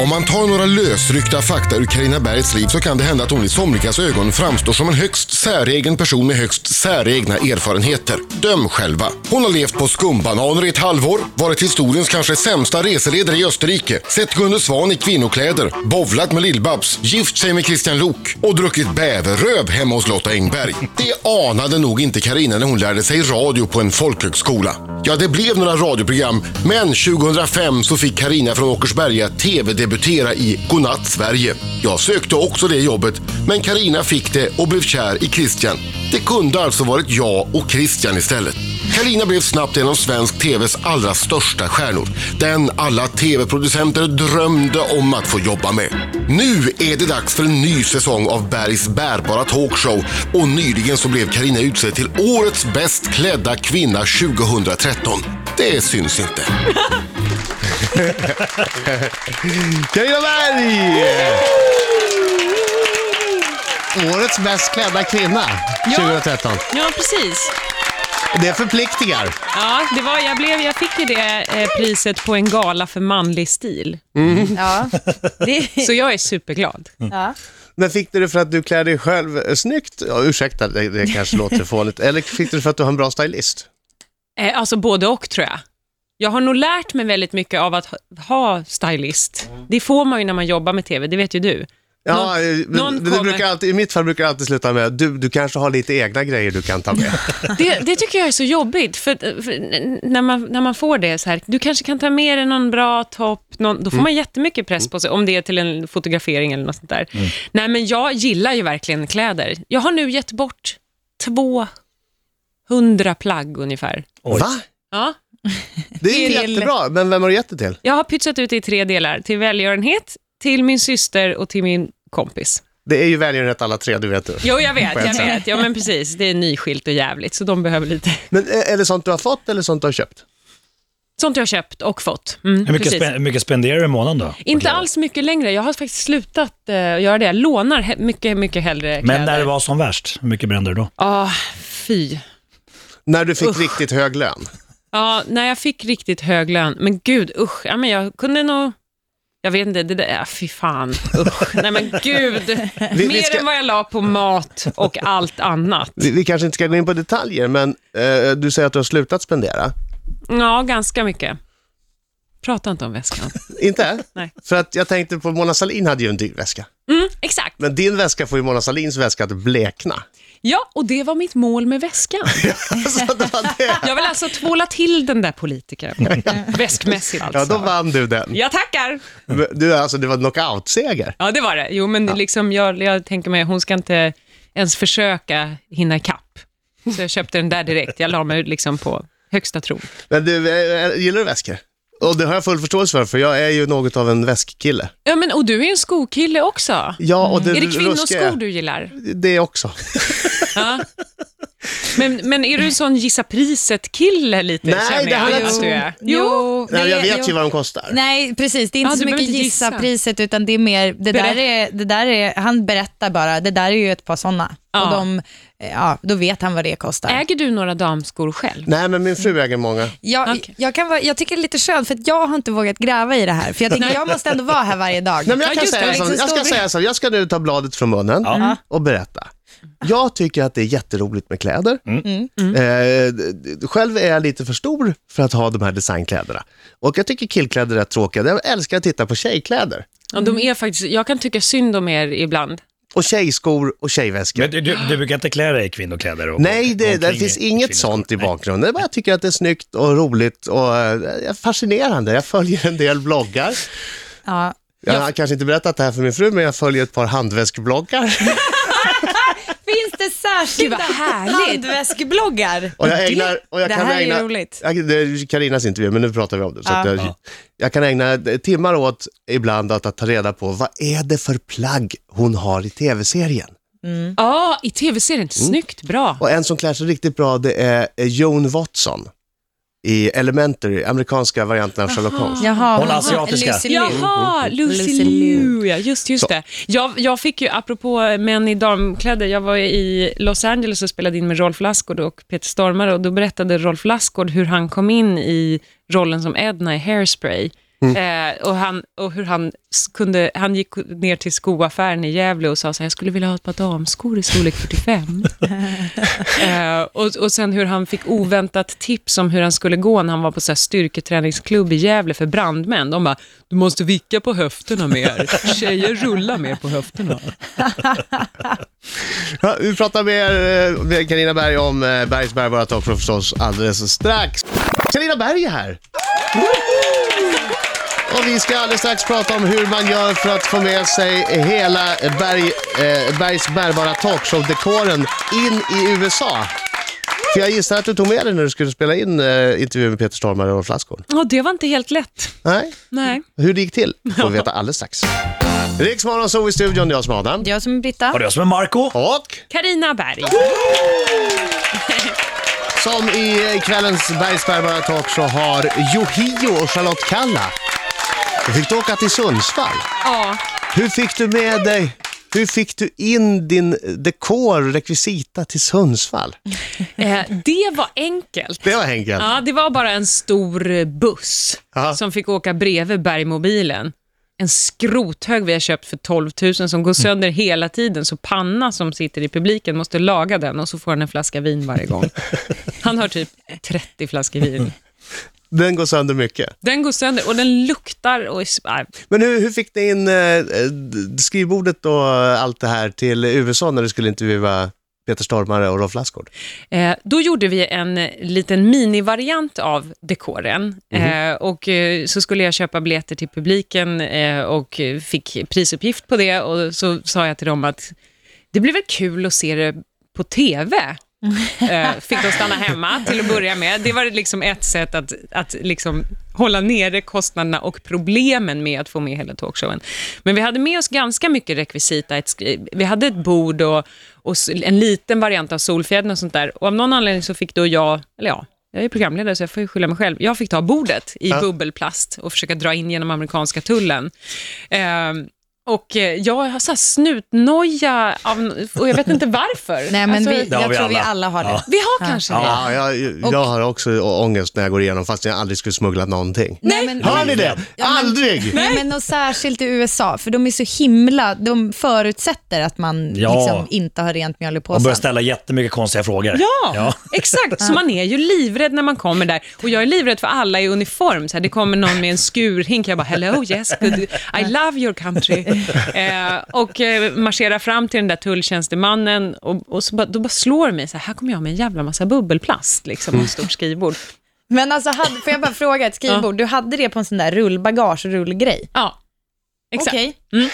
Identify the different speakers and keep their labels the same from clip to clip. Speaker 1: Om man tar några lösryckta fakta ur Carina Bergs liv så kan det hända att hon i somligas ögon framstår som en högst säregen person med högst säregna erfarenheter. Döm själva. Hon har levt på skumbananer i ett halvår, varit historiens kanske sämsta reseledare i Österrike, sett Gunde Svan i kvinnokläder, bovlat med Lill-Babs, gift sig med Christian Lok och druckit bäverröv hemma hos Lotta Engberg. Det anade nog inte Carina när hon lärde sig radio på en folkhögskola. Ja, det blev några radioprogram, men 2005 så fick Carina från Åkersberga tv-debutera i Godnatt Sverige. Jag sökte också det jobbet, men Carina fick det och blev kär i Christian. Det kunde alltså varit jag och Christian istället. Carina blev snabbt en av svensk TVs allra största stjärnor. Den alla TV-producenter drömde om att få jobba med. Nu är det dags för en ny säsong av Bergs bärbara talkshow och nyligen så blev Carina utsedd till årets bäst klädda kvinna 2013. Det syns inte.
Speaker 2: Carina Berg! Årets bäst klädda kvinna
Speaker 3: Ja.
Speaker 2: 2013.
Speaker 3: Ja, precis.
Speaker 2: Det förpliktigar.
Speaker 3: Ja, det var, jag, blev, jag fick ju det eh, priset på en gala för manlig stil.
Speaker 4: Ja. Det,
Speaker 3: Så jag är superglad.
Speaker 4: ja.
Speaker 2: Men fick du det för att du klär dig själv eh, snyggt? Ja, ursäkta, det, det kanske låter fånigt. Eller fick du det för att du har en bra stylist?
Speaker 3: Eh, alltså både och tror jag. Jag har nog lärt mig väldigt mycket av att ha, ha stylist. Det får man ju när man jobbar med TV, det vet ju du.
Speaker 2: Ja, eh, men
Speaker 3: någon
Speaker 2: det
Speaker 3: kommer.
Speaker 2: brukar alltid, I mitt fall brukar det alltid sluta med du, du kanske har lite egna grejer du kan ta med.
Speaker 3: Det, det tycker jag är så jobbigt, för, för n- när, man, när man får det så här, du kanske kan ta med dig någon bra topp, någon, då får man jättemycket press på sig, om det är till en fotografering eller något sånt där. Nej, men jag gillar ju verkligen kläder. Jag har nu gett bort 200 plagg ungefär.
Speaker 5: Oj.
Speaker 2: Va?
Speaker 3: Ja,
Speaker 2: Det är
Speaker 3: Till-
Speaker 2: jättebra, men vem har du gett det till?
Speaker 3: jag har pytsat ut det i tre delar, till välgörenhet, till min syster och till min kompis.
Speaker 2: Det är ju välgörenhet alla tre, du vet du.
Speaker 3: Jo, jag vet,
Speaker 2: På ett
Speaker 3: jag
Speaker 2: sätt.
Speaker 3: vet. Ja, men precis. Det är nyskilt och jävligt, så de behöver lite
Speaker 2: Men eh, är det sånt du har fått eller sånt du har köpt?
Speaker 3: sånt jag har köpt och fått. Mm,
Speaker 5: Hur mycket,
Speaker 3: precis.
Speaker 5: spä- hur mycket spenderar du i månaden då?
Speaker 3: Inte alls mycket längre. Jag har faktiskt slutat eh, göra det. Jag lånar he- mycket, mycket hellre kläder.
Speaker 5: Men när det var som värst, hur mycket brände du då?
Speaker 3: Ja, fy.
Speaker 2: När du fick riktigt hög lön?
Speaker 3: Ja, när jag fick riktigt hög lön. Men gud, usch. Ja, men jag kunde nog... Jag vet inte, det där... ja, Fy fan. Usch. Nej men gud.
Speaker 2: vi
Speaker 3: Mer
Speaker 2: ska-
Speaker 3: än vad jag la på mat och allt annat.
Speaker 2: Vi, vi kanske inte ska gå in på detaljer, men eh, du säger att du har slutat spendera.
Speaker 3: Ja, ganska mycket. Prata inte om väskan.
Speaker 2: Inte?
Speaker 3: Nej.
Speaker 2: För att jag tänkte på Mona Sahlin hade ju en dyr väska.
Speaker 3: Mm, exakt.
Speaker 2: Men din väska får ju Mona Sahlins väska att blekna.
Speaker 3: Ja, och det var mitt mål med väskan.
Speaker 2: Så det var det.
Speaker 3: Jag vill alltså tvåla till den där politikern. Väskmässigt alltså.
Speaker 2: Ja, då vann du den.
Speaker 3: Jag tackar.
Speaker 2: Men Du, alltså, det var knockout-seger.
Speaker 3: Ja, det var det. Jo, men liksom, jag, jag tänker mig, hon ska inte ens försöka hinna ikapp. Så jag köpte den där direkt. Jag la mig liksom på högsta tron.
Speaker 2: Men du, eh, gillar du väskor? Och det har jag full förståelse för, för jag är ju något av en väskkille.
Speaker 3: Ja, men, och du är en skokille också.
Speaker 2: Ja, och det
Speaker 3: Mm. Är det
Speaker 2: ruskiga-
Speaker 3: kvinnoskor du gillar?
Speaker 2: Det också.
Speaker 3: Ja. Men, men är du en sån gissa priset-kille lite?
Speaker 2: Nej,
Speaker 3: känner jag
Speaker 2: det handlar
Speaker 3: att
Speaker 2: inte
Speaker 3: du
Speaker 2: om-
Speaker 3: är. Jo,
Speaker 2: Nej, jag vet
Speaker 4: jo.
Speaker 2: ju vad de kostar.
Speaker 4: Nej, precis. Det är inte
Speaker 3: Ja, du
Speaker 4: så mycket
Speaker 3: behöver inte
Speaker 4: gissa
Speaker 3: gissa.
Speaker 4: priset, utan det är mer, det där
Speaker 3: Berätta.
Speaker 4: är, det där är, han berättar bara, det där är ju ett par sådana.
Speaker 3: Ja.
Speaker 4: Och de, eh, ja, då vet han vad det kostar.
Speaker 3: äger du några damskor själv?
Speaker 2: Nej, men min fru äger många.
Speaker 4: Jag,
Speaker 3: Okej.
Speaker 4: jag, kan vara, jag tycker det är lite skönt, för att jag har inte vågat gräva i det här. För jag tänker, jag måste ändå vara här varje dag.
Speaker 2: Nej, men jag,
Speaker 3: Ja,
Speaker 2: kan
Speaker 3: just det,
Speaker 2: säga
Speaker 3: liksom
Speaker 2: så, jag ska
Speaker 4: stor-
Speaker 2: säga så, jag ska nu ta bladet från munnen
Speaker 5: Ja. Mm.
Speaker 2: och berätta. Jag tycker att det är jätteroligt med kläder.
Speaker 5: Mm.
Speaker 3: Mm.
Speaker 2: Eh, d- d- själv är jag lite för stor för att ha de här designkläderna. Och jag tycker killkläder är tråkiga. Jag älskar att titta på tjejkläder.
Speaker 3: Ja, de är faktiskt, jag kan tycka synd om er ibland.
Speaker 2: Och tjejskor och tjejväskor.
Speaker 5: Men du, du, du brukar inte klä dig i kvinnokläder? Och
Speaker 2: Nej, det, det
Speaker 5: omkring
Speaker 2: finns
Speaker 5: i
Speaker 2: inget
Speaker 5: kvinnoskor.
Speaker 2: sånt i
Speaker 5: Nej.
Speaker 2: bakgrunden. Det är bara Jag tycker att det är snyggt och roligt och eh, fascinerande. Jag följer en del bloggar.
Speaker 4: Ja.
Speaker 2: Jag har kanske inte berättat det här för min fru, men jag följer ett par handväskbloggar.
Speaker 4: Finns det särskilda handväskbloggar?
Speaker 2: Och jag ägnar, och jag
Speaker 4: det
Speaker 2: kan
Speaker 4: här
Speaker 2: ägna,
Speaker 4: är ju roligt.
Speaker 2: Jag, det är Karinas intervju, men nu pratar vi om det. Så
Speaker 4: Ja.
Speaker 2: att jag,
Speaker 5: Ja.
Speaker 2: jag kan ägna eh, timmar åt ibland att, att ta reda på vad är det för plagg hon har i tv-serien.
Speaker 3: Ja, i tv-serien. Snyggt, bra.
Speaker 2: Och en som klär sig riktigt bra det är är Joan Watson i Elementary, amerikanska varianten av Sherlock Holmes.
Speaker 4: Jaha,
Speaker 5: Hon är asiatiska.
Speaker 4: Lucy Liu.
Speaker 3: Jaha, Lucy
Speaker 4: Lucy
Speaker 3: mm, Liu, ja. Just, just det. Jag, jag fick ju, apropå män i damkläder, jag var i Los Angeles och spelade in med Rolf Lassgård och Peter Stormare och då berättade Rolf Lassgård hur han kom in i rollen som Edna i Hairspray. Eh, och han, och hur han, s- kunde, han gick ner till skoaffären i Gävle och sa så här, jag skulle vilja ha ett par damskor i storlek 45. eh, och, och sen hur han fick oväntat tips om hur han skulle gå när han var på så här styrketräningsklubb i Gävle för brandmän. De bara, du måste vicka på höfterna mer. Tjejer rullar mer på höfterna.
Speaker 2: Ja, vi pratar mer eh, med Carina Berg om eh, Bergs bärbara toppor förstås alldeles strax. Carina Berg är här! Och vi ska alldeles strax prata om hur man gör för att få med sig hela Berg, eh, Bergs bärbara talkshow-dekoren in i USA. För jag gissar att du tog med dig när du skulle spela in eh, intervjun med Peter Stormare och Flaskor.
Speaker 3: Ja, det var inte helt lätt.
Speaker 2: Nej,
Speaker 3: Nej.
Speaker 2: hur det gick till får vi veta alldeles strax. Riksmorgon så i studion, jag som Adam.
Speaker 4: Jag som är Britta.
Speaker 5: Och det är jag som är Marco
Speaker 2: Och
Speaker 3: Karina Berg.
Speaker 2: Som i eh, kvällens Bergsbergbara Talk så har Yohio och Charlotte Kalla. Du fick du åka till Sundsvall.
Speaker 3: Ja.
Speaker 2: Hur fick du med dig, hur fick du in din dekor, rekvisita till Sundsvall?
Speaker 3: Eh, det var enkelt.
Speaker 2: Det var enkelt.
Speaker 3: Ja, det var bara en stor eh, buss
Speaker 2: Ja.
Speaker 3: som fick åka bredvid bergmobilen. En skrothög vi har köpt för 12 000 som går sönder hela tiden, så Panna som sitter i publiken måste laga den och så får han en flaska vin varje gång. Han har typ 30 flaskor vin.
Speaker 2: Den går sönder mycket.
Speaker 3: Den går sönder och den luktar och... är s- äh, nej.
Speaker 2: Men hur, hur fick ni in eh, eh, skrivbordet och eh, allt det här till USA när du skulle intervjua Peter Stormare och Rolf Lassgård?
Speaker 3: Eh, då gjorde vi en eh, liten minivariant av dekoren. Eh, och eh, så skulle jag köpa biljetter till publiken eh, och eh, fick prisuppgift på det. Och så sa jag till dem att det blir väl kul att se det på TV. Eh, Fick de stanna hemma till att börja med. Det var liksom ett sätt att, att liksom hålla nere kostnaderna och problemen med att få med hela talkshowen. Men vi hade med oss ganska mycket rekvisita. Ett skri- Vi hade ett bord och, och s- en liten variant av Solfjädern och sånt där. Och av någon anledning så fick då jag, eller ja, jag är programledare så jag får ju skylla mig själv. Jag fick ta bordet i bubbelplast och försöka dra in genom amerikanska tullen. Ehm, och eh, jag har så här snutnoja av, och jag vet inte varför.
Speaker 4: Nej, men
Speaker 3: Alltså,
Speaker 4: vi,
Speaker 5: Det har
Speaker 4: jag
Speaker 5: vi
Speaker 4: tror vi
Speaker 5: alla.
Speaker 4: alla har det.
Speaker 3: vi har kanske det.
Speaker 2: Ja, jag, jag har också ångest när jag går igenom fast jag aldrig skulle smuggla någonting.
Speaker 4: Nej, men,
Speaker 2: Hör ni det?
Speaker 4: Ja, men-
Speaker 2: Aldrig!
Speaker 4: Nej, men och särskilt i USA, för de är så himla... De förutsätter att man
Speaker 5: Ja.
Speaker 4: liksom inte har rent mjöl i
Speaker 5: och börjar
Speaker 4: påsen.
Speaker 5: ställa jättemycket konstiga frågor.
Speaker 3: Ja, exakt. Så man är ju livrädd när man kommer där. Och jag är livrädd för alla i uniform. Så här, det kommer någon med en skurhink. Jag bara, hello, yes, good. I love your country. Eh, och eh, marscherar fram till den där tulltjänstemannen. Och, och så bara, då bara slår det mig, så här, här kommer jag med en jävla massa bubbelplast, liksom, och ett stort skrivbord.
Speaker 4: Men alltså, hade, får jag bara fråga, ett skrivbord, du hade det på en sån där rullbagage och rullgrej?
Speaker 3: Ja, exakt.
Speaker 4: Okej.
Speaker 3: Mm.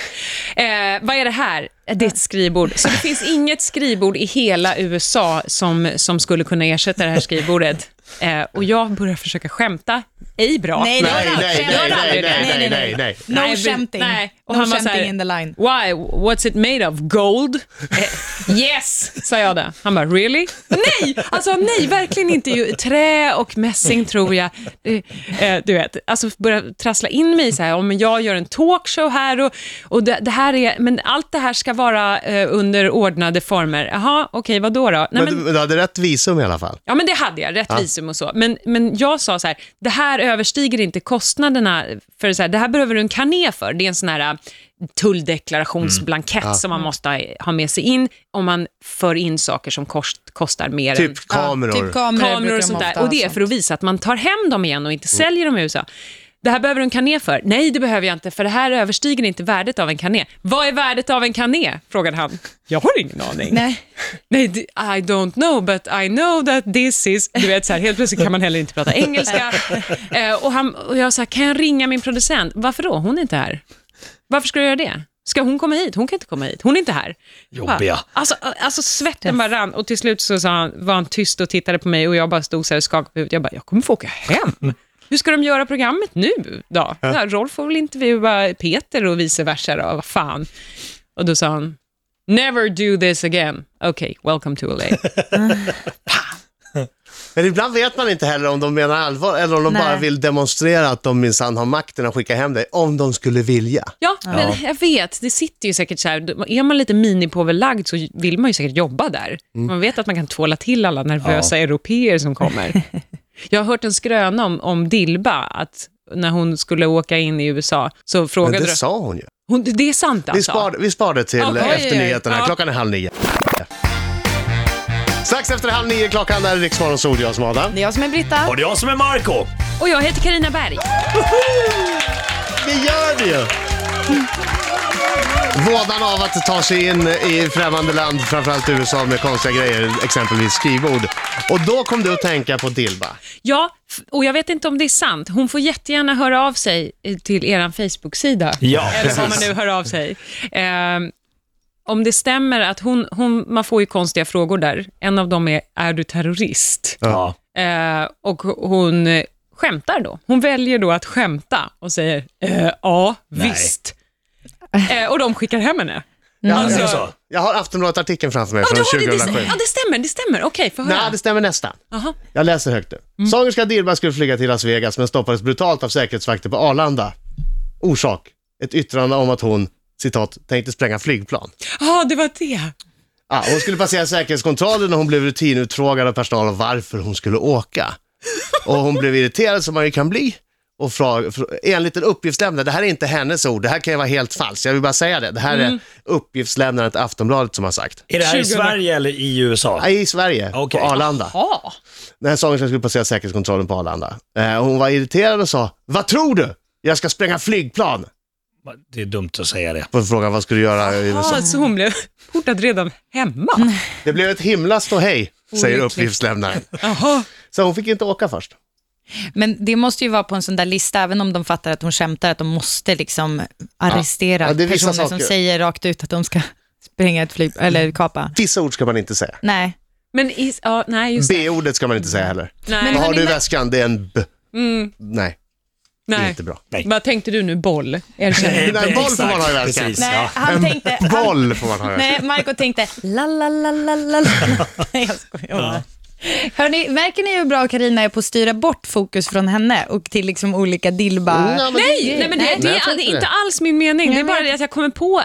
Speaker 3: Eh, vad är det här? Det är ett skrivbord. Så det finns inget skrivbord i hela USA som, som skulle kunna ersätta det här skrivbordet. Eh, och jag börjar försöka skämta. Ej bra.
Speaker 4: Nej,
Speaker 2: Nej,
Speaker 4: Gör
Speaker 2: nej,
Speaker 4: aldrig
Speaker 2: nej,
Speaker 4: det. Gör
Speaker 2: nej,
Speaker 4: aldrig det.
Speaker 2: nej, nej, nej, nej.
Speaker 4: No
Speaker 3: Nej, vi-
Speaker 4: skämting.
Speaker 3: nej. Och
Speaker 4: No
Speaker 3: han var så här-
Speaker 4: skämting in the line.
Speaker 3: Why? What's it made of? Gold? Eh, yes, sa jag då. Han bara, really? Nej, alltså nej, verkligen inte. Ju, trä och mässing tror jag. Eh, eh, du vet, alltså börja trassla in mig så här, om jag gör en talkshow här och, och det, det här är, men allt det här ska vara eh, under ordnade former. Jaha, okej, vad då? då? Nej,
Speaker 2: Men, du- du hade rätt visum i alla fall.
Speaker 3: Ja, men det hade jag. Rätt visum och så. Men, men jag sa så här, det här överstiger inte kostnaderna. för så här, Det här behöver du en kané för. Det är en sån här eh, tulldeklarationsblankett som man måste ha- ha med sig in om man för in saker som kost, kostar mer än
Speaker 2: Typ kameror.
Speaker 4: Ja, typ kameror, brukar
Speaker 3: kameror
Speaker 4: de
Speaker 3: och sånt Mm. där.
Speaker 4: ofta
Speaker 3: Och det
Speaker 4: ha
Speaker 3: är för att visa att man tar hem dem igen och inte säljer dem i USA. Det här behöver du en kané för. Nej, det behöver jag inte, för det här överstiger inte värdet av en kané. Vad är värdet av en kané? frågade han. Jag har ingen aning.
Speaker 4: Nej.
Speaker 3: Nej, d- I don't know, but I know that this is... Du vet, så här, helt plötsligt kan man heller inte prata engelska. Eh, och, han, och jag sa, kan jag ringa min producent? Varför då? Hon är inte här. Varför ska du göra det? Ska hon komma hit? Hon kan inte komma hit. Hon är inte här. Jag bara,
Speaker 5: Jobbiga.
Speaker 3: Alltså, alltså svetten bara rann och till slut så sa han, var han tyst och tittade på mig och jag bara stod så här och skakade på huvudet. Jag bara, jag kommer få åka hem. Hur ska de göra programmet nu då? Ja. Rolf får väl intervjua Peter och vice versa då, vad fan. Och då sa han, Never do this again. Okay, welcome to LA.
Speaker 2: Men ibland vet man inte heller om de menar allvar eller om de
Speaker 4: Nej.
Speaker 2: bara vill demonstrera att de minsann har makten att skicka hem dig, om de skulle vilja.
Speaker 3: Ja, men jag vet. Det sitter ju säkert så här. Är man lite minipåverlagd så vill man ju säkert jobba där. Man vet att man kan tvåla till alla nervösa européer som kommer. Jag har hört en skröna om, om Dilba, att när hon skulle åka in i USA. Så frågade
Speaker 2: Men det
Speaker 3: du-
Speaker 2: sa hon ju.
Speaker 3: hon, det är sant
Speaker 2: Vi
Speaker 3: alltså?
Speaker 2: spar, vi spar det till
Speaker 3: Ja, oj,
Speaker 2: efter
Speaker 3: oj, oj.
Speaker 2: nyheterna.
Speaker 3: Ja.
Speaker 2: Klockan är halv nio. Strax efter halv nio klockan är Riksmorgon Sol, jag som är Adam.
Speaker 4: Det är jag som är Britta.
Speaker 5: Och det är jag som är Marco
Speaker 3: Och jag heter Karina Berg.
Speaker 2: Vi gör det ju! Vådan av att ta sig in i främmande land, framförallt USA, med konstiga grejer, exempelvis skrivbord. Och då kom du att tänka på Dilba.
Speaker 3: Ja, f- och jag vet inte om det är sant. Hon får jättegärna höra av sig eh, till er Facebook-sida.
Speaker 5: Ja,
Speaker 3: Eller vad man nu hör av sig. Ehm, om det stämmer att hon, hon, man får ju konstiga frågor där. En av dem är, är du terrorist?
Speaker 5: Ja.
Speaker 3: Eh, och hon eh, skämtar då. Hon väljer då att skämta och säger eh, ja,
Speaker 5: Nej.
Speaker 3: visst. Eh, och de skickar hem henne.
Speaker 2: Jag,
Speaker 3: Mm.
Speaker 5: Alltså, det är
Speaker 2: har,
Speaker 5: så.
Speaker 2: jag har Aftonbladet-artikeln framför mig
Speaker 3: Ja, du
Speaker 2: från
Speaker 3: har det, det,
Speaker 2: 2007.
Speaker 3: ja, det stämmer. Det stämmer. Okej, få höra.
Speaker 2: Nej, det stämmer nästan.
Speaker 3: Jaha.
Speaker 2: Jag läser högt nu.
Speaker 3: Mm.
Speaker 2: Sångerskan Dilba skulle flyga till Las Vegas men stoppades brutalt av säkerhetsvakter på Arlanda. Orsak? Ett yttrande om att hon, citat, tänkte spränga flygplan.
Speaker 3: Ja, det var det.
Speaker 2: Ah, hon skulle passera säkerhetskontrollen och hon blev rutinutfrågad av personalen varför hon skulle åka. Och hon blev irriterad som man ju kan bli. Och fra, fra, enligt en uppgiftslämnare, det här är inte hennes ord, det här kan ju vara helt falskt, jag vill bara säga det. Det här
Speaker 3: Mm.
Speaker 2: är uppgiftslämnaren till Aftonbladet som har sagt.
Speaker 5: Är det här i
Speaker 3: 20.
Speaker 5: Sverige eller i USA?
Speaker 2: Nej, I Sverige,
Speaker 5: Okej.
Speaker 2: på Arlanda.
Speaker 3: Ja.
Speaker 2: när sångerskan skulle passera säkerhetskontrollen på Arlanda. Eh, hon var irriterad och sa, vad tror du? Jag ska spränga flygplan.
Speaker 5: Det är dumt att säga det.
Speaker 2: På frågan vad ska du göra i USA?
Speaker 3: Ja, så hon blev portad redan hemma.
Speaker 2: Det blev ett himla ståhej, säger
Speaker 3: Olyckligt.
Speaker 2: uppgiftslämnaren.
Speaker 3: Jaha.
Speaker 2: Så hon fick inte åka först.
Speaker 4: Men det måste ju vara på en sån där lista, även om de fattar att hon skämtar, att de måste liksom arrestera
Speaker 2: Ja, det är vissa
Speaker 4: personer som
Speaker 2: saker. Mm.
Speaker 4: säger rakt ut att de ska spränga ett flyg, eller kapa.
Speaker 2: Vissa ord ska man inte säga.
Speaker 4: Nej.
Speaker 3: Men is, ja, nej, just det.
Speaker 2: B-ordet ska man inte säga heller.
Speaker 3: Nej,
Speaker 4: Men
Speaker 2: Vad har
Speaker 4: hörni,
Speaker 2: du i
Speaker 4: men-
Speaker 2: väskan? Det är en b. Nej, det är
Speaker 3: nej.
Speaker 2: inte bra.
Speaker 3: Vad tänkte du nu? Boll? Erkänn.
Speaker 5: Eh,
Speaker 2: Nej, boll får man ha i
Speaker 5: exakt,
Speaker 2: väskan.
Speaker 5: precis,
Speaker 4: Nej,
Speaker 5: ja.
Speaker 4: han tänkte... Han,
Speaker 2: Boll får man ha i väskan.
Speaker 4: nej, Marco tänkte la, la, la, la, la, la. Nej, jag skojar bara. Hörni, märker ni hur bra Karina är på att styra bort fokus från henne och till liksom olika dilba...
Speaker 2: Nej, men
Speaker 3: Nej, nej, men det, det,
Speaker 2: Nej, jag
Speaker 3: är,
Speaker 2: tror
Speaker 3: det
Speaker 2: inte
Speaker 3: är inte
Speaker 2: det.
Speaker 3: alls min mening. Det är
Speaker 4: men
Speaker 3: bara det att jag kommer på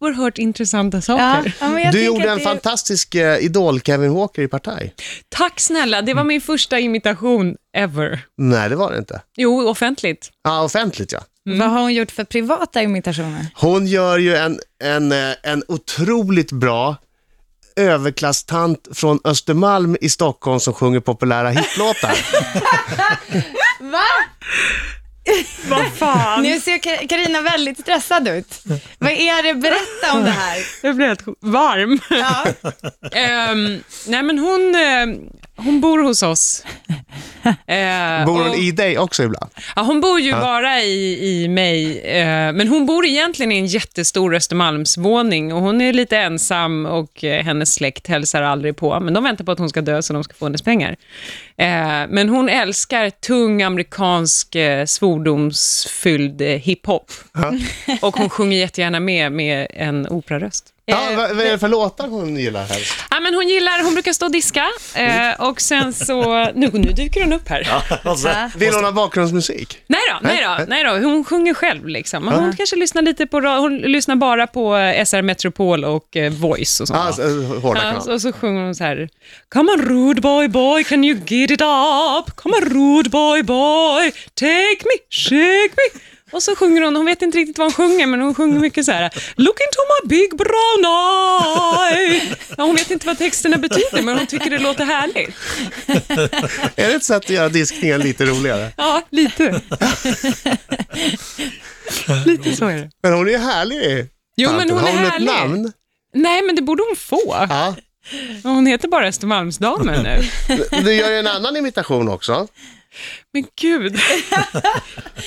Speaker 3: oerhört intressanta
Speaker 4: Ja,
Speaker 3: saker.
Speaker 4: ja, men jag
Speaker 2: Du
Speaker 4: tänker
Speaker 2: gjorde
Speaker 4: att
Speaker 2: en
Speaker 4: det-
Speaker 2: fantastisk eh, idol, Kevin Walker, i Partaj.
Speaker 3: Tack snälla, det var min första imitation ever.
Speaker 2: Nej, det var det inte.
Speaker 3: Jo, offentligt.
Speaker 2: Ja, offentligt ja.
Speaker 4: Vad har hon gjort för privata imitationer?
Speaker 2: Hon gör ju en, en, eh, en otroligt bra överklasstant från Östermalm i Stockholm som sjunger populära hitlåtar.
Speaker 3: Vad fan?
Speaker 4: Nu ser Ka- Karina väldigt stressad ut. Vad är det? Berätta om det här.
Speaker 3: Jag blev helt varm.
Speaker 4: Ja.
Speaker 3: Ehm, nej, men hon, ehm, hon bor hos oss. Eh,
Speaker 2: Bor hon
Speaker 3: och-
Speaker 2: i dig också ibland?
Speaker 3: Ja, hon bor ju bara i, i mig, eh, men hon bor egentligen i en jättestor Östermalmsvåning och hon är lite ensam och eh, hennes släkt hälsar aldrig på, men de väntar på att hon ska dö så de ska få hennes pengar. Eh, men hon älskar tung amerikansk eh, svordomsfylld eh, hiphop och hon sjunger jättegärna med med en operaröst.
Speaker 2: Ja, vad, vad är det för låtar hon gillar helst?
Speaker 3: Ja, men hon gillar, hon brukar stå och diska eh, och sen så, nu, nu dyker hon upp här.
Speaker 5: Och så-
Speaker 2: Vill hon ha bakgrundsmusik?
Speaker 3: Nej då, nej då, nej då. Hon sjunger själv. Liksom. Men Hon kanske lyssnar lite på ra- hon lyssnar bara på eh, SR Metropol och eh, Voice och sånt.
Speaker 2: Ja, alltså, hårda
Speaker 3: Ja,
Speaker 2: kanal.
Speaker 3: och så sjunger hon så här. Come on rude boy boy, can you get it up? Come on rude boy boy, take me, shake me. Och så sjunger hon, hon vet inte riktigt vad hon sjunger, men hon sjunger mycket så här. Look into my big brown eye. Ja, hon vet inte vad texterna betyder, men hon tycker det låter härligt.
Speaker 2: Är det ett sätt att göra diskningen lite roligare?
Speaker 3: Ja, lite. lite så är det.
Speaker 2: Men hon är ju härlig.
Speaker 3: Jo, men
Speaker 2: tanten.
Speaker 3: hon
Speaker 2: har
Speaker 3: är
Speaker 2: hon
Speaker 3: härlig.
Speaker 2: ett namn?
Speaker 3: Nej, men det borde hon få.
Speaker 2: Ja.
Speaker 3: Hon heter bara Östermalmsdamen nu.
Speaker 2: Du gör ju en annan imitation också.
Speaker 3: Men gud.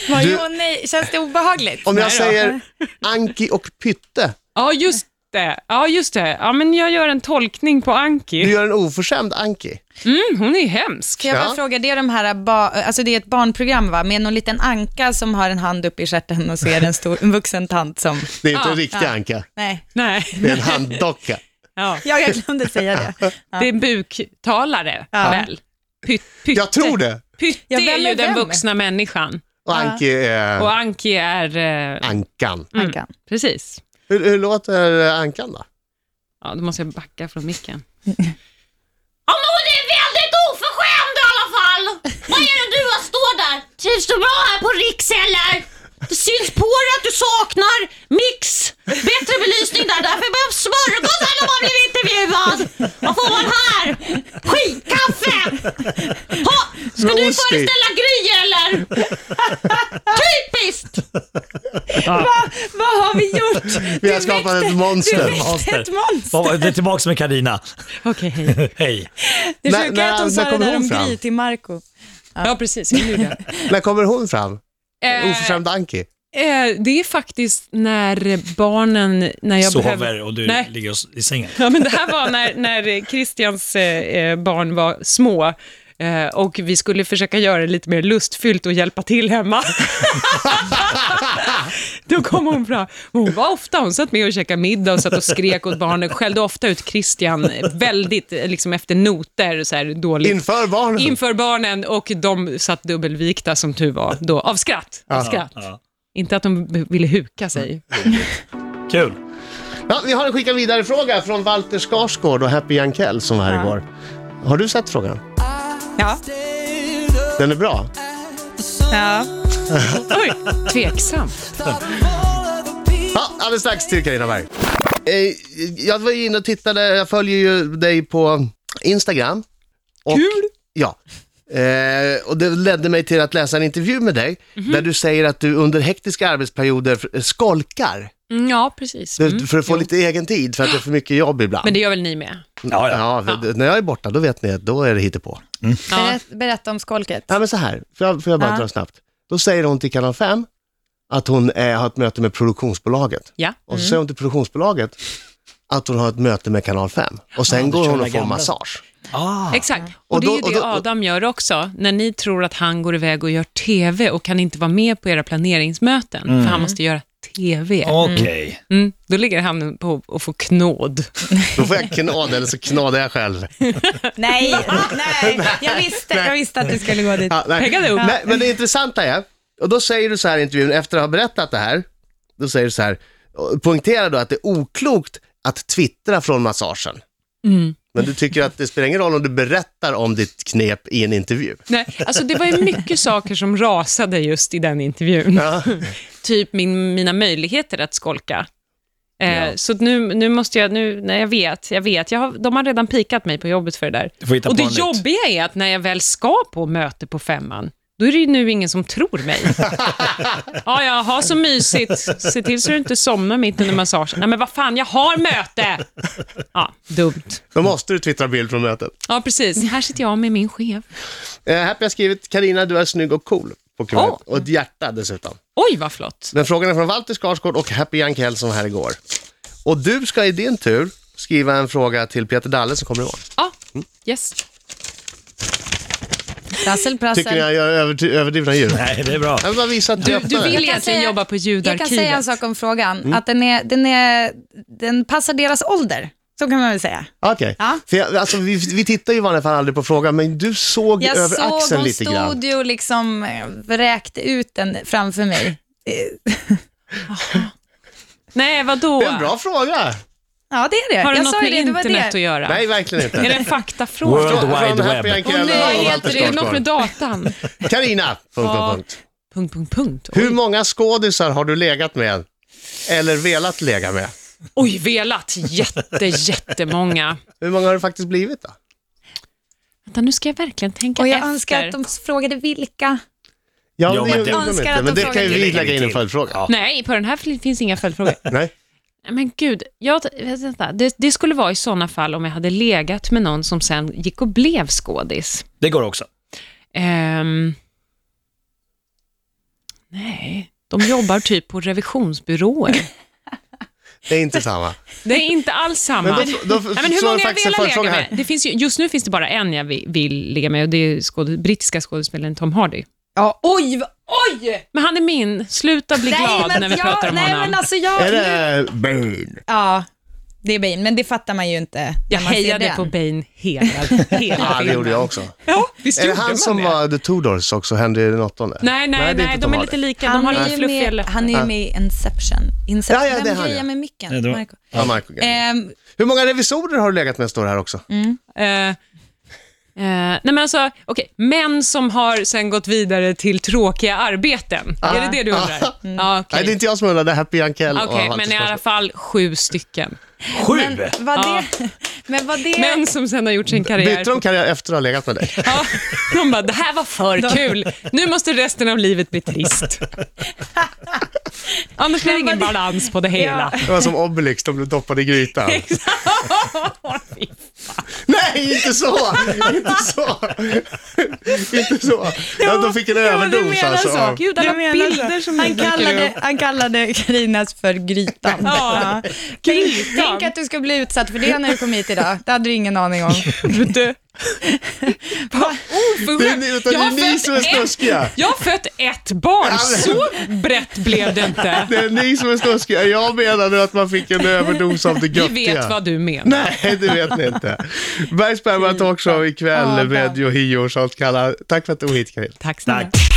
Speaker 4: Vad
Speaker 2: Du-
Speaker 4: jo, nej. Känns det obehagligt?
Speaker 2: Om jag
Speaker 3: Nej då.
Speaker 2: säger Anki och Pytte,
Speaker 3: Ja, just det. Ja, just det. Ja, men jag gör en tolkning på
Speaker 2: du
Speaker 3: Anki.
Speaker 2: gör en oförskämd Anki.
Speaker 3: Mm, hon är ju hemsk.
Speaker 4: Får jag bara
Speaker 2: Ja.
Speaker 4: fråga, det är, de här ba, alltså det är ett barnprogram va? Med någon liten anka som har en hand upp i stjärten och ser en, stor, en vuxen tant som...
Speaker 2: Det är inte
Speaker 3: Ja,
Speaker 2: en riktig
Speaker 4: ja.
Speaker 2: Anka,
Speaker 4: Nej,
Speaker 3: Nej.
Speaker 2: det är en handdocka.
Speaker 3: Ja.
Speaker 4: jag, jag glömde säga det.
Speaker 3: Det är en buktalare,
Speaker 4: Ja.
Speaker 3: väl? Pyt, pytte.
Speaker 2: Jag tror det.
Speaker 3: Pytte
Speaker 4: Ja, vem
Speaker 3: är ju
Speaker 4: är
Speaker 3: den
Speaker 4: vem?
Speaker 3: vuxna människan
Speaker 2: Och Anki är...
Speaker 3: och Anki är... Eh,
Speaker 2: Ankan.
Speaker 4: Ankan.
Speaker 3: precis.
Speaker 2: Hur, hur låter Ankan då?
Speaker 3: Ja, då måste jag backa från micken.
Speaker 6: Ja, men hon är väldigt oförskämd i alla fall! Vad är det du har står där? trivs du bra här på Riks eller? Det syns på dig att du saknar mix, bättre belysning där. Därför behövs smörgås när man blir intervjuad. Vad får man här? Skitkaffe! Ha, ska du
Speaker 2: Roasty.
Speaker 6: föreställa Gry eller? Typiskt!
Speaker 4: Vad har vi gjort?
Speaker 2: Vi har
Speaker 4: Du
Speaker 2: skapat
Speaker 4: väckte-
Speaker 2: ett monster.
Speaker 4: Du väckte
Speaker 5: Monster.
Speaker 4: ett monster.
Speaker 5: Vad var- Det är tillbaka med Karina.
Speaker 3: Okej, hej.
Speaker 5: Hej.
Speaker 4: Det
Speaker 2: När-
Speaker 4: sjuka
Speaker 2: när-
Speaker 4: är att de sa
Speaker 2: när
Speaker 4: det
Speaker 2: kommer
Speaker 4: där
Speaker 2: hon
Speaker 4: om
Speaker 2: fram?
Speaker 4: Gry till Marco
Speaker 3: Ja, precis. Jag gjorde det.
Speaker 2: När kommer hon fram? Oh.
Speaker 3: Eh,
Speaker 2: Oförskämd Anki.
Speaker 3: eh, det är faktiskt när barnen... När jag
Speaker 5: Sover
Speaker 3: behöver...
Speaker 5: och du
Speaker 3: Nej.
Speaker 5: ligger i sängen.
Speaker 3: Ja, men det här var när, när Christians eh, eh, barn var små eh, och vi skulle försöka göra det lite mer lustfyllt och hjälpa till hemma. Då kom hon fram. Hon var ofta, hon satt med och käkade middag och satt och skrek åt barnen, skällde ofta ut Christian eh, väldigt eh, liksom efter noter, så här dåligt.
Speaker 2: Inför barnen.
Speaker 3: Inför barnen och de satt dubbelvikta som tur var då, av skratt. Av skratt.
Speaker 5: Ja.
Speaker 3: Inte att de b- ville huka sig.
Speaker 5: Kul.
Speaker 2: ja, vi har en skicka vidare fråga från Walter Skarsgård och Happy Jankell som var här igår. Har du sett frågan?
Speaker 4: Ja.
Speaker 2: Den är bra.
Speaker 4: ja.
Speaker 3: Oj, tveksam.
Speaker 2: Ja, alldeles strax till Carina Berg. Eh, jag var ju inne och tittade, jag följer ju dig på Instagram. Och, Kul! Ja. Eh, och det ledde mig till att läsa en intervju med dig, där du säger att du under hektiska arbetsperioder f- skolkar
Speaker 3: Mm, Ja, precis.
Speaker 2: du-
Speaker 3: Mm.
Speaker 2: för att få lite egen tid för att det är för mycket jobb ibland.
Speaker 3: Men det gör väl ni med?
Speaker 5: Ja, ja.
Speaker 2: Ja, för, när jag är borta, då vet ni att då är det hittepå.
Speaker 3: Ja.
Speaker 4: Berätta, berätta om skolket.
Speaker 2: Ja, men så här, får jag, får jag bara
Speaker 4: Ja.
Speaker 2: dra snabbt. Då säger hon till Kanal 5 att hon eh, har ett möte med produktionsbolaget.
Speaker 3: ja.
Speaker 2: Och så säger hon till produktionsbolaget att hon har ett möte med Kanal 5. Och sen
Speaker 5: Ja,
Speaker 2: går
Speaker 5: det
Speaker 2: hon
Speaker 5: kör
Speaker 2: och får
Speaker 5: gamla.
Speaker 2: massage.
Speaker 5: Ah.
Speaker 3: Exakt. Och,
Speaker 2: Och
Speaker 3: det
Speaker 2: då-
Speaker 3: är ju
Speaker 2: och
Speaker 3: det
Speaker 2: då- och-
Speaker 3: Adam gör också, när ni tror att han går iväg och gör TV och kan inte vara med på era planeringsmöten, för
Speaker 2: Mm.
Speaker 3: han måste göra TV.
Speaker 5: Ah, Okej.
Speaker 3: Mm, då ligger han på och får knåd.
Speaker 2: Då får jag knåda eller så knådar jag själv.
Speaker 4: Nej, nej, jag visste, jag visste att du skulle gå dit.
Speaker 2: Ja, nej.
Speaker 3: Peggade upp.
Speaker 2: Nej, men det intressanta är, och då säger du så här i intervjun, efter att ha berättat det här, då säger du så här, och poängterar då att det är oklokt att twittra från massagen.
Speaker 5: Mm.
Speaker 2: Men du tycker att det spelar ingen roll om du berättar om ditt knep i en intervju.
Speaker 3: Nej, alltså det var ju mycket saker som rasade just i den intervjun. typ min, mina möjligheter att skolka. Eh, Så att nu, nu måste jag, nu, nej jag vet, jag vet, jag har, de har redan pikat mig på jobbet för det där.
Speaker 5: Du får hitta
Speaker 3: Och
Speaker 5: på
Speaker 3: det
Speaker 5: nytt.
Speaker 3: jobbiga är att när jag väl ska på möte på femman, då är det ju nu ingen som tror mig. ja, ja, ha så mysigt. Se till så du inte somnar mitt under massagen. Nej, men vad fan, jag har möte! Ja, dumt.
Speaker 2: Då måste du twittra bild från mötet.
Speaker 3: Ja, precis. Här sitter jag med min chef.
Speaker 2: Eh, här har jag skrivit, Karina du är snygg och cool på kuvertet.
Speaker 3: Åh.
Speaker 2: Och ett hjärta dessutom.
Speaker 3: Oj, vad flott.
Speaker 2: Men frågan är från Walter Skarsgård och Happy Jank Hellson här igår. Och du ska i din tur skriva en fråga till Peter Dalle som kommer imorgon.
Speaker 3: Ja, yes.
Speaker 4: Prassel, prassel.
Speaker 2: Tycker ni jag gör övert- överdrivna ljud?
Speaker 5: Nej, det är bra.
Speaker 2: Jag vill bara visa att du,
Speaker 3: Du vill
Speaker 4: kan
Speaker 3: egentligen
Speaker 4: säga-
Speaker 3: jobba på
Speaker 4: Jag kan säga en
Speaker 3: ljudarkivet.
Speaker 4: sak om frågan, att den, är, den, är, den passar deras ålder. Så kan man väl säga.
Speaker 2: Okej.
Speaker 4: Ja.
Speaker 2: För jag- Alltså, vi, vi tittar ju i vanliga fall aldrig på frågan, men du såg
Speaker 4: Jag
Speaker 2: över
Speaker 4: såg,
Speaker 2: axeln
Speaker 4: hon
Speaker 2: lite grann.
Speaker 4: stod ju och liksom eh, vräkte ut den framför mig. Eh,
Speaker 3: Nej, vadå?
Speaker 2: Det är en bra fråga.
Speaker 4: Ja, det är det.
Speaker 3: Har det
Speaker 4: jag
Speaker 3: något
Speaker 4: sa ju
Speaker 3: med
Speaker 4: det, det var
Speaker 3: internet
Speaker 4: det.
Speaker 3: att göra?
Speaker 2: Nej, verkligen inte.
Speaker 3: Är det en faktafråga?
Speaker 5: World
Speaker 2: Från-
Speaker 5: Wide
Speaker 2: från Happy
Speaker 5: Web.
Speaker 2: Jank
Speaker 3: Åh
Speaker 2: Hellson och
Speaker 3: nej,
Speaker 2: Walter
Speaker 3: helt det är något med
Speaker 2: Skarsgård.
Speaker 3: datan.
Speaker 2: Karina, punkt,
Speaker 3: Ja.
Speaker 2: punkt, punkt.
Speaker 3: Punkt, punkt, punkt.
Speaker 2: Hur många skådisar har du legat med? Eller velat lägga med?
Speaker 3: Oj, velat. Jätte, jättemånga.
Speaker 2: Hur många har det faktiskt blivit då?
Speaker 3: Vänta, nu ska jag verkligen tänka
Speaker 4: Och jag
Speaker 3: efter.
Speaker 4: önskar att de frågade vilka.
Speaker 2: Ja,
Speaker 5: Jo,
Speaker 2: men
Speaker 5: men
Speaker 2: det,
Speaker 5: det-
Speaker 2: gjorde de
Speaker 4: Önskar
Speaker 2: inte,
Speaker 4: att
Speaker 2: men
Speaker 4: de
Speaker 2: det kan ju
Speaker 4: frågade.
Speaker 2: vi
Speaker 5: Det lägger
Speaker 2: lägga
Speaker 5: vi
Speaker 2: in en
Speaker 5: till.
Speaker 2: följdfråga.
Speaker 5: Ja.
Speaker 3: Nej, på den här finns inga följdfrågor.
Speaker 2: Nej.
Speaker 3: Nej, Men gud, jag, vänta, det, det skulle vara i sådana fall om jag hade legat med någon som sen gick och blev skådis.
Speaker 5: Det går också.
Speaker 3: Ehm, nej, de jobbar typ på revisionsbyråer.
Speaker 2: Det är inte samma.
Speaker 3: Det är inte alls samma.
Speaker 2: Men då- då-
Speaker 3: Nej, men hur
Speaker 2: så
Speaker 3: många
Speaker 2: faktiskt en
Speaker 3: jag velat
Speaker 2: följdfråga
Speaker 3: leka
Speaker 2: här.
Speaker 3: med? Det finns ju, just nu finns det bara en jag vi- vill ligga med och det är skåd, brittiska skådespelaren Tom Hardy.
Speaker 4: Ja, oj, vad- oj!
Speaker 3: Men han är min. Sluta bli glad när vi
Speaker 4: jag,
Speaker 3: pratar om
Speaker 4: nej,
Speaker 3: honom.
Speaker 4: Men alltså jag,
Speaker 2: Är det Bane?
Speaker 4: Ja, det är Bane, men det fattar man ju inte. när
Speaker 3: jag
Speaker 4: man ser
Speaker 3: hejade
Speaker 4: den.
Speaker 3: på Bane hela, hela
Speaker 2: Ja, det
Speaker 3: filmen.
Speaker 2: gjorde jag också.
Speaker 3: Ja, visst
Speaker 2: Är det
Speaker 3: gjorde
Speaker 2: han
Speaker 3: man
Speaker 2: som
Speaker 3: det?
Speaker 2: var The Tudors också, Henry den åttonde?
Speaker 3: Nej, nej, nej,
Speaker 2: det inte
Speaker 3: de
Speaker 2: Tom
Speaker 3: är
Speaker 2: Hardy.
Speaker 3: lite lika. De
Speaker 4: Han
Speaker 3: har
Speaker 4: är
Speaker 3: lite
Speaker 4: ju
Speaker 3: fluffiga
Speaker 4: med,
Speaker 3: läppar.
Speaker 4: han är ju med i Inception. Inception.
Speaker 2: Ja, ja, det är
Speaker 4: Vem
Speaker 2: han,
Speaker 4: grejar
Speaker 2: ja.
Speaker 4: med
Speaker 5: Nej,
Speaker 4: micken?
Speaker 5: det var-
Speaker 4: Marco.
Speaker 2: Ja, Marco.
Speaker 3: Eh.
Speaker 4: Ehm,
Speaker 3: Mm.
Speaker 2: Hur många revisorer har du legat med står det här också?
Speaker 3: Eh, Eh, nej men alltså, okej, män som har sen gått vidare till tråkiga arbeten. Är det det du undrar? Ja, okej.
Speaker 2: Ah. Mm.
Speaker 3: Ah,
Speaker 2: Nej, det är inte jag som undrar, Happy Jankell.
Speaker 3: Okej, men i alla fall sju stycken.
Speaker 5: Sju!
Speaker 4: Men vad det... Men vad det...
Speaker 3: Män som sen har gjort sin karriär.
Speaker 2: Byter de karriär efter att ha legat med dig?
Speaker 3: Ja, de bara, det här var för kul. Nu måste resten av livet bli trist. Annars blir det ingen balans på det hela.
Speaker 2: Det var som Obelix, de blev doppade i grytan.
Speaker 3: Fy
Speaker 2: Nej, inte så! inte så! inte så. Ja, de fick en
Speaker 4: Ja, men du
Speaker 2: överdos
Speaker 4: menar
Speaker 2: alltså.
Speaker 4: så.
Speaker 2: av-
Speaker 3: Gud, alla
Speaker 4: Du menar
Speaker 3: bilder
Speaker 4: så.
Speaker 3: som
Speaker 4: han
Speaker 3: nu dyker
Speaker 4: kallade,
Speaker 3: upp.
Speaker 4: han kallade Karinas för Grytan.
Speaker 3: Ja.
Speaker 4: Tänk,
Speaker 3: Grytan.
Speaker 4: tänk att du ska bli utsatt för det när du kom hit idag. Det hade du ingen aning om.
Speaker 3: Gud. Vad
Speaker 4: Oh,
Speaker 2: Det
Speaker 3: oförskämt.
Speaker 2: är, utan det
Speaker 3: Jag
Speaker 2: är
Speaker 3: har
Speaker 2: ni
Speaker 3: fött
Speaker 2: som är
Speaker 3: ett-
Speaker 2: snuskiga.
Speaker 3: Jag har fött ett barn, så brett blev det inte.
Speaker 2: Det är ni som är snuskiga. Jag menar nu att man fick en överdos av det
Speaker 3: Vi
Speaker 2: göttiga.
Speaker 3: vet vad du menar.
Speaker 2: Nej, det vet ni inte. Bergs Bergman Talkshow ikväll
Speaker 4: Ja,
Speaker 2: med
Speaker 4: där.
Speaker 2: Yohio och sånt kallar. Tack för att du var hit, Karin.
Speaker 3: Tack snälla.
Speaker 5: Tack.